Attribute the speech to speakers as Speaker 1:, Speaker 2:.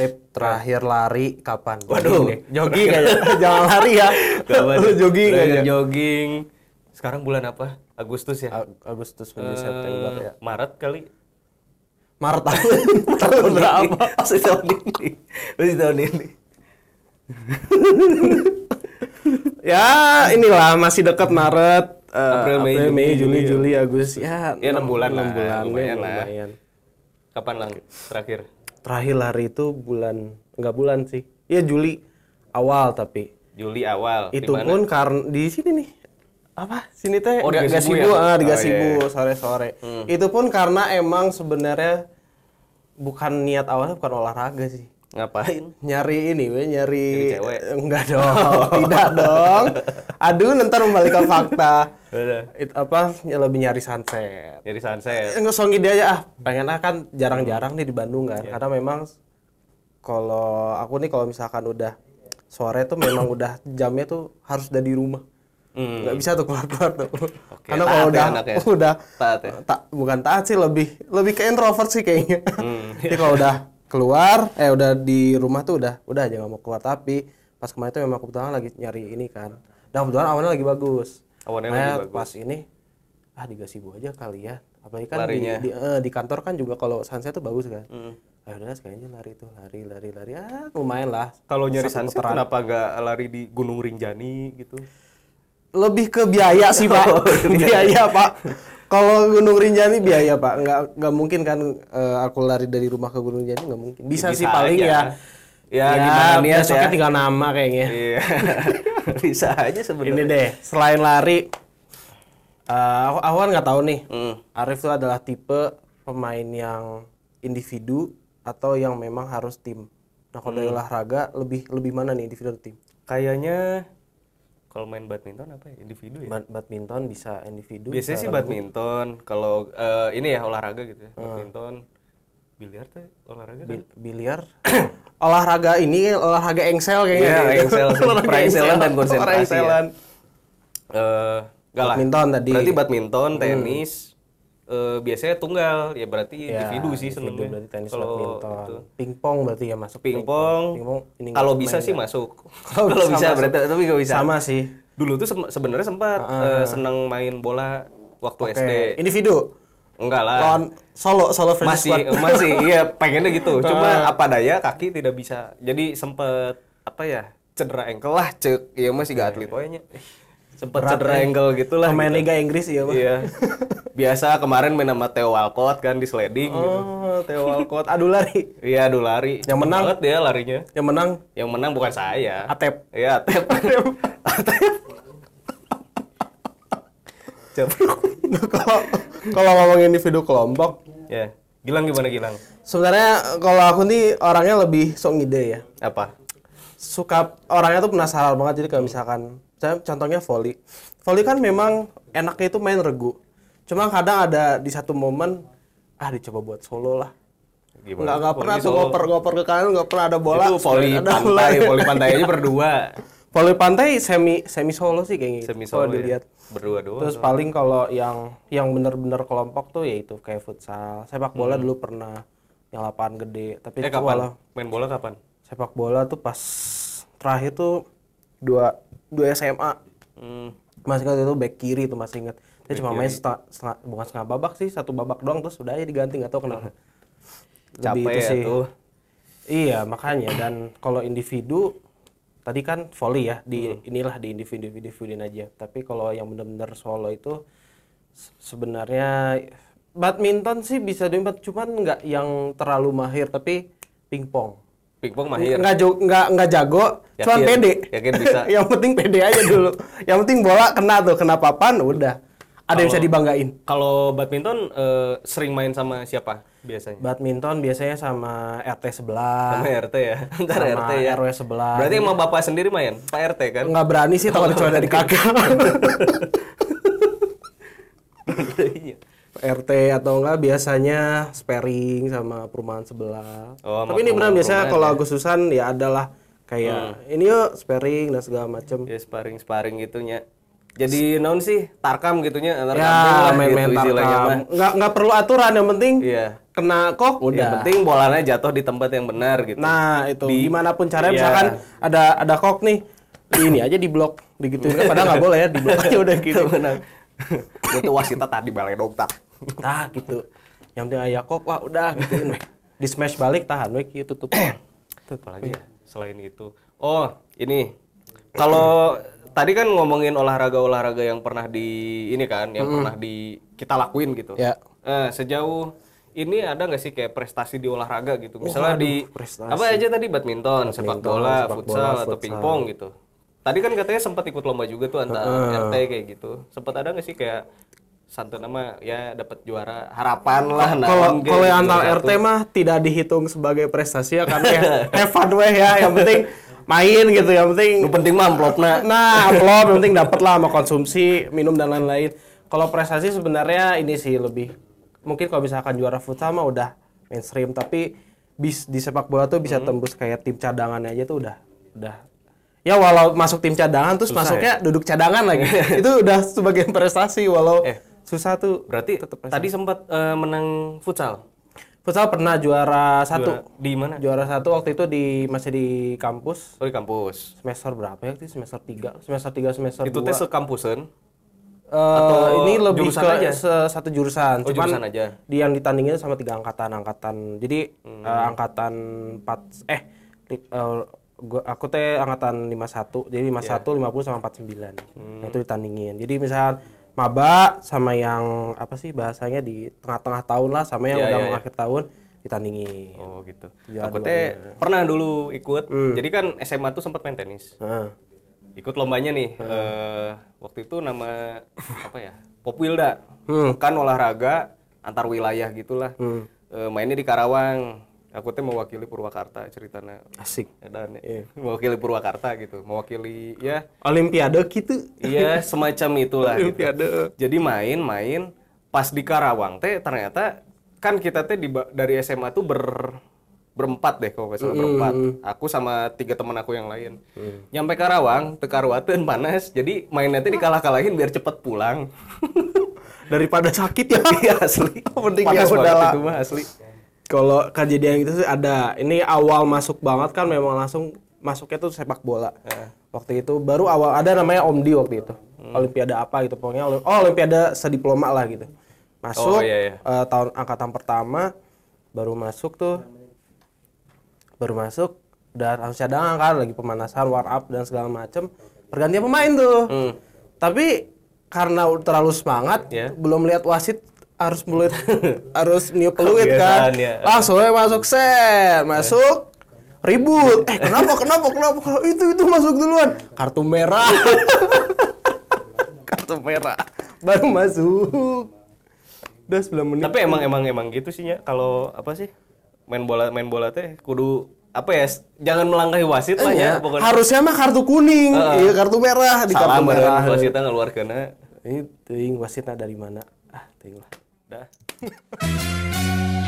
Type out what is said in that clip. Speaker 1: Tip terakhir lari kapan?
Speaker 2: Waduh.
Speaker 1: Jogging deh. jogging aja. Jangan lari ya. Lu jogging aja.
Speaker 2: Belajar jogging. Sekarang bulan apa? Agustus ya?
Speaker 1: Ag- Agustus menuju September
Speaker 2: Eh,
Speaker 1: ya.
Speaker 2: Maret kali.
Speaker 1: Maret tahun, tahun berapa?
Speaker 2: Pasti tahun ini. Pasti tahun ini.
Speaker 1: ya inilah masih dekat Maret. eh,
Speaker 2: April, Mei, Juni,
Speaker 1: Juni,
Speaker 2: Juli,
Speaker 1: Juli, Agustus. Ya,
Speaker 2: Ya, enam bulan
Speaker 1: enam
Speaker 2: lah,
Speaker 1: bulan,
Speaker 2: lumayan
Speaker 1: ya,
Speaker 2: lah. Kapan lang terakhir?
Speaker 1: Terakhir lari itu bulan enggak bulan sih. Ya Juli awal tapi
Speaker 2: Juli awal.
Speaker 1: itu
Speaker 2: Dimana?
Speaker 1: pun karena di sini nih apa sini teh
Speaker 2: Oh, di
Speaker 1: Ga-
Speaker 2: Gasibu
Speaker 1: Gasibu,
Speaker 2: ya?
Speaker 1: ah, di
Speaker 2: Oh, iya,
Speaker 1: Gasibu
Speaker 2: iya.
Speaker 1: sore-sore itu pun karena emang sebenarnya bukan niat awalnya bukan olahraga sih
Speaker 2: Ngapain?
Speaker 1: nyari ini we nyari
Speaker 2: Nyari cewek.
Speaker 1: enggak dong tidak dong aduh ntar membalik ke fakta
Speaker 2: Udah.
Speaker 1: It, apa ya lebih nyari sunset
Speaker 2: Jadi sunset.
Speaker 1: enggak song ide aja ah pengen ah, kan jarang-jarang nih di Bandung kan
Speaker 2: Iya.
Speaker 1: karena memang kalau aku nih kalau misalkan udah sore tuh memang udah jamnya tuh harus udah di rumah
Speaker 2: Hmm.
Speaker 1: nggak bisa tuh keluar keluar tuh
Speaker 2: Oke,
Speaker 1: karena kalau
Speaker 2: taat ya
Speaker 1: udah
Speaker 2: anaknya.
Speaker 1: udah
Speaker 2: Taat ya?
Speaker 1: tak bukan taat sih lebih lebih ke introvert sih kayaknya
Speaker 2: Hmm, iya.
Speaker 1: jadi kalau udah keluar eh udah di rumah tuh udah udah aja nggak mau keluar tapi pas kemarin tuh memang kebetulan lagi nyari ini kan dan kebetulan awalnya lagi bagus
Speaker 2: Awannya
Speaker 1: Makanya
Speaker 2: lagi bagus.
Speaker 1: pas ini ah di Gasibu aja kali ya apalagi kan di,
Speaker 2: Larinya. Hmm.
Speaker 1: di, eh, di kantor kan juga kalau sunset tuh bagus kan ah udah kayaknya lari tuh lari lari lari ah lumayan lah
Speaker 2: Kalau nyari
Speaker 1: Satu
Speaker 2: sunset
Speaker 1: putaran.
Speaker 2: kenapa nggak lari di Gunung Rinjani gitu?
Speaker 1: lebih ke biaya sih pak biaya pak kalau Gunung Rinjani biaya pak nggak nggak mungkin kan eh, aku lari dari rumah ke Gunung Rinjani nggak mungkin bisa, sih paling
Speaker 2: aja.
Speaker 1: ya
Speaker 2: Ya, gimana niat
Speaker 1: besoknya
Speaker 2: ya?
Speaker 1: tinggal nama kayaknya
Speaker 2: Iya. Bisa aja
Speaker 1: ini
Speaker 2: sebenarnya.
Speaker 1: deh selain lari eh, aku aku kan nggak tahu nih
Speaker 2: Hmm.
Speaker 1: Arif itu adalah tipe pemain yang individu atau yang memang harus tim nah kalau dari
Speaker 2: Hmm.
Speaker 1: olahraga lebih lebih mana nih individu atau tim
Speaker 2: Kayaknya kalau main badminton apa ya? Individu ya?
Speaker 1: Bad- badminton bisa individu
Speaker 2: Biasanya sih badminton. Kalau eh, ini ya olahraga
Speaker 1: Hmm.
Speaker 2: gitu ya. Badminton, biliar tuh olahraga kan?
Speaker 1: Bil- biliar olahraga ini olahraga engsel kayaknya
Speaker 2: Iya,
Speaker 1: gitu.
Speaker 2: engsel,
Speaker 1: olahraga
Speaker 2: perengselan dan konsentrasi ya.
Speaker 1: Perengselan.
Speaker 2: Eh, nggak lah.
Speaker 1: badminton tadi Hmm.
Speaker 2: Berarti badminton, tenis, eh, biasanya tunggal. Ya berarti individu sih
Speaker 1: Iya, individu
Speaker 2: senengnya.
Speaker 1: berarti tenis
Speaker 2: Kalau
Speaker 1: badminton
Speaker 2: itu.
Speaker 1: pingpong berarti ya masuk
Speaker 2: Pingpong,
Speaker 1: pingpong ini nggak
Speaker 2: kalau
Speaker 1: main
Speaker 2: bisa sih
Speaker 1: nggak?
Speaker 2: masuk.
Speaker 1: Kalau
Speaker 2: Kalau
Speaker 1: bisa
Speaker 2: bisa
Speaker 1: masuk.
Speaker 2: berarti tapi nggak bisa.
Speaker 1: sama sih
Speaker 2: Dulu tuh sem- sebenarnya sempat eh, seneng main bola
Speaker 1: Oke, Oh,
Speaker 2: waktu SD.
Speaker 1: individu
Speaker 2: Enggak lah.
Speaker 1: lawan solo solo versus
Speaker 2: Ah. masih
Speaker 1: squad.
Speaker 2: masih iya pengennya gitu.
Speaker 1: Ah.
Speaker 2: Cuma apa daya kaki tidak bisa. Jadi sempet apa ya? cedera engkel lah cek. Iya masih gak atlet pokoknya. Sempet cedera engkel gitu
Speaker 1: ya.
Speaker 2: lah.
Speaker 1: pemain
Speaker 2: gitu.
Speaker 1: Liga Inggris ya Bang?
Speaker 2: Iya. Biasa kemarin main sama Theo Walcott kan di sliding gitu.
Speaker 1: oh Theo Walcott aduh lari
Speaker 2: Iya, aduh lari.
Speaker 1: Yang menang.
Speaker 2: Banget dia larinya.
Speaker 1: yang menang
Speaker 2: Yang menang bukan saya.
Speaker 1: Atep
Speaker 2: Iya, Atep. Atep. Capruk.
Speaker 1: kalau kalau ngomongin individu kelompok
Speaker 2: Ya. Gilang gimana Gilang?
Speaker 1: sebenarnya kalau aku nih orangnya lebih sok ngide ya
Speaker 2: Apa?
Speaker 1: suka orangnya tuh penasaran banget jadi kalau misalkan saya contohnya volley volley kan memang enaknya itu main regu cuma kadang ada di satu momen ah dicoba buat solo lah nggak nggak pernah
Speaker 2: Volley
Speaker 1: tuh
Speaker 2: solo.
Speaker 1: ngoper ngoper ke kanan nggak pernah ada bola
Speaker 2: Itu volley
Speaker 1: ada bola.
Speaker 2: pantai, volley pantai aja berdua.
Speaker 1: volley pantai semi semi solo sih kayaknya
Speaker 2: Semi
Speaker 1: kalau
Speaker 2: solo. ya.
Speaker 1: dilihat
Speaker 2: Berdua doang.
Speaker 1: terus paling kalau yang yang bener-bener kelompok tuh yaitu kayak futsal sepak bola dulu pernah yang lapangan gede tapi
Speaker 2: Hmm. eh
Speaker 1: itu
Speaker 2: kapan?
Speaker 1: kalau
Speaker 2: Main bola kapan?
Speaker 1: sepak bola tuh pas terakhir tuh dua dua SMA
Speaker 2: Hmm.
Speaker 1: masih ingat itu back kiri tuh masih ingat dia cuma main setengah, setengah- bukan setengah babak sih satu babak doang terus udah aja diganti nggak tahu kenapa Lebih
Speaker 2: Capek ya tuh.
Speaker 1: iya makanya dan kalau individu tadi kan volley ya di
Speaker 2: Hmm.
Speaker 1: inilah di individu individuin aja tapi kalau yang benar-benar solo itu se- sebenarnya badminton sih bisa diempat cuman nggak yang terlalu mahir tapi pingpong
Speaker 2: Pingpong mahir.
Speaker 1: nggak jo- nggak nggak jago cuman
Speaker 2: Yakin?
Speaker 1: pede
Speaker 2: Yakin bisa?
Speaker 1: yang penting pede aja dulu yang penting bola kena tuh kena papan udah ada yang
Speaker 2: Oh.
Speaker 1: bisa dibanggain
Speaker 2: Kalau badminton eh, sering main sama siapa biasanya?
Speaker 1: badminton biasanya sama RT sebelah
Speaker 2: Sama RT ya. Ntar
Speaker 1: Ah. sama
Speaker 2: RT ya.
Speaker 1: RW sebelah
Speaker 2: Berarti emang bapak sendiri main? Pak RT kan?
Speaker 1: nggak berani sih takut dicoba dari kakak Iya. RT atau enggak biasanya sparing sama perumahan sebelah
Speaker 2: Oh, sama
Speaker 1: tapi ini benar
Speaker 2: perumahan-
Speaker 1: biasanya kalau Agustusan ya adalah kayak ini yuk sparing dan segala macem
Speaker 2: Hmm. ya sparring sparring gitunya. Jadi naon sih tarkam gitunya antar
Speaker 1: ya
Speaker 2: kampung lah
Speaker 1: main-main
Speaker 2: gitu
Speaker 1: tarkam
Speaker 2: istilahnya mah.
Speaker 1: nggak nggak perlu aturan yang penting
Speaker 2: Iya. kena kok
Speaker 1: Udah.
Speaker 2: yang penting bolanya jatuh di tempat yang benar gitu
Speaker 1: Nah, itu
Speaker 2: Di-
Speaker 1: gimana pun caranya
Speaker 2: Iya.
Speaker 1: misalkan ada ada kok nih di ini aja di blok digituin kan padahal nggak boleh ya di blok aja udah gitu.
Speaker 2: benar butuh wasita tadi balai dokter
Speaker 1: Nah, gitu. Yang penting ayah kok wah udah gituin weh. Di smash balik tahan weh gitu tutup.
Speaker 2: apalagi
Speaker 1: Iya.
Speaker 2: ya selain itu oh ini kalau tadi kan ngomongin olahraga olahraga yang pernah di ini kan yang pernah di kita lakuin gitu
Speaker 1: Ya.
Speaker 2: Eh, sejauh ini ada nggak sih kayak prestasi di olahraga gitu misalnya
Speaker 1: aduh,
Speaker 2: di
Speaker 1: prestasi.
Speaker 2: apa aja tadi badminton, sepak
Speaker 1: sepak
Speaker 2: bola
Speaker 1: bola,
Speaker 2: futsal atau
Speaker 1: futsal.
Speaker 2: pingpong gitu tadi kan katanya sempat ikut lomba juga tuh antar RT kayak gitu sempat ada nggak sih kayak santun nama ya dapat juara harapan lah nah,
Speaker 1: Kalau
Speaker 2: mungkin
Speaker 1: kalau yang
Speaker 2: juara
Speaker 1: antar
Speaker 2: satu.
Speaker 1: RT mah tidak dihitung sebagai prestasi ya karena ya have fun weh ya yang penting main gitu yang penting
Speaker 2: Nu penting mah amplopna
Speaker 1: Nah, upload yang penting dapat lah sama konsumsi, minum dan lain-lain. Kalau prestasi sebenarnya ini sih lebih mungkin kalau misalkan juara futsal mah udah mainstream, tapi bis di sepak bola tuh
Speaker 2: Hmm.
Speaker 1: bisa tembus kayak tim cadangan aja tuh udah udah ya walau masuk tim cadangan terus
Speaker 2: Susah ya?
Speaker 1: masuknya duduk cadangan lagi itu udah sebagai prestasi walau
Speaker 2: Eh.
Speaker 1: susah tuh
Speaker 2: Berarti tadi sempat eh, menang futsal.
Speaker 1: futsal pernah juara
Speaker 2: Juara-
Speaker 1: satu
Speaker 2: di mana?
Speaker 1: juara satu waktu itu di masih di kampus
Speaker 2: Oh, di kampus.
Speaker 1: semester berapa ya itu semester 3 semester 3 semester
Speaker 2: Itu
Speaker 1: 2
Speaker 2: tes kampusan.
Speaker 1: Eh,
Speaker 2: Atau
Speaker 1: ini lebih
Speaker 2: jurusan
Speaker 1: ke
Speaker 2: aja?
Speaker 1: se- satu jurusan.
Speaker 2: Oh,
Speaker 1: Cuman
Speaker 2: jurusan aja.
Speaker 1: di yang ditandingin sama tiga angkatan, angkatan. Jadi
Speaker 2: Hmm.
Speaker 1: eh, angkatan 4 eh li- eh, gua, aku teh angkatan 51. Jadi
Speaker 2: Iya.
Speaker 1: 51, 50 sama 49.
Speaker 2: Hmm.
Speaker 1: Nah, itu ditandingin. Jadi misal maba sama yang apa sih bahasanya di tengah-tengah tahun lah sama yang
Speaker 2: Iya,
Speaker 1: udah
Speaker 2: iya,
Speaker 1: mau akhir tahun ditandingin.
Speaker 2: Oh, gitu.
Speaker 1: Juara
Speaker 2: Aku teh pernah dulu ikut. Jadi kan SMA tuh sempat main tenis.
Speaker 1: Heeh.
Speaker 2: Ikut lombanya nih. Eh, waktu itu nama apa ya? Popwilda.
Speaker 1: Hmm.
Speaker 2: Kan olahraga antar wilayah gitulah. Eh, mainnya di Karawang. Aku teh mewakili Purwakarta ceritanya.
Speaker 1: Asik.
Speaker 2: Dan mewakili Purwakarta gitu. Mewakili ya
Speaker 1: Olimpiade gitu.
Speaker 2: Iya, semacam itulah gitu.
Speaker 1: Olimpiade.
Speaker 2: Jadi main-main pas di Karawang teh ternyata kan kita teh di, dari SMA tuh ber berempat deh kalau nggak salah berempat. Aku sama tiga teman aku yang lain. Nyampe Karawang, tekaruateun panas. Jadi mainnya teh dikalah-kalahin biar cepet pulang.
Speaker 1: Daripada sakit ya.
Speaker 2: Iya asli.
Speaker 1: Mending ya
Speaker 2: panas banget
Speaker 1: udahlah.
Speaker 2: itu mah asli.
Speaker 1: Kalau kejadian itu sih ada. Ini awal masuk banget kan memang langsung masuknya tuh sepak bola.
Speaker 2: Iya.
Speaker 1: Waktu itu baru awal ada namanya Omdi waktu itu.
Speaker 2: Hmm.
Speaker 1: Olimpiade apa gitu pokoknya. olim- Oh, Olimpiade sediploma lah gitu. Masuk
Speaker 2: Oh, iya, iya.
Speaker 1: eh, tahun angkatan pertama baru masuk tuh baru masuk udah harus cadangan kan lagi pemanasan warm up dan segala macem pergantian pemain tuh
Speaker 2: Hmm.
Speaker 1: tapi karena u- terlalu semangat
Speaker 2: Ya.
Speaker 1: belum lihat wasit harus mulut harus niup peluit kan
Speaker 2: Kebiasaan, ya.
Speaker 1: langsung aja masuk set masuk ribut eh kenapa kenapa kenapa kenapa? itu itu masuk duluan kartu merah
Speaker 2: Kartu merah.
Speaker 1: baru masuk udah 9 menit
Speaker 2: Tapi emang emang emang gitu sih ya kalau apa sih? Main bola main bola teh kudu apa ya? s- Jangan melangkahi wasit lah
Speaker 1: Iya,
Speaker 2: ya, pokoknya.
Speaker 1: harusnya mah kartu kuning iya kartu merah di
Speaker 2: salah
Speaker 1: kartu merah
Speaker 2: merah wasita ngeluar kena
Speaker 1: Ini ting wasitnya dari mana? Ah, ting lah.
Speaker 2: dah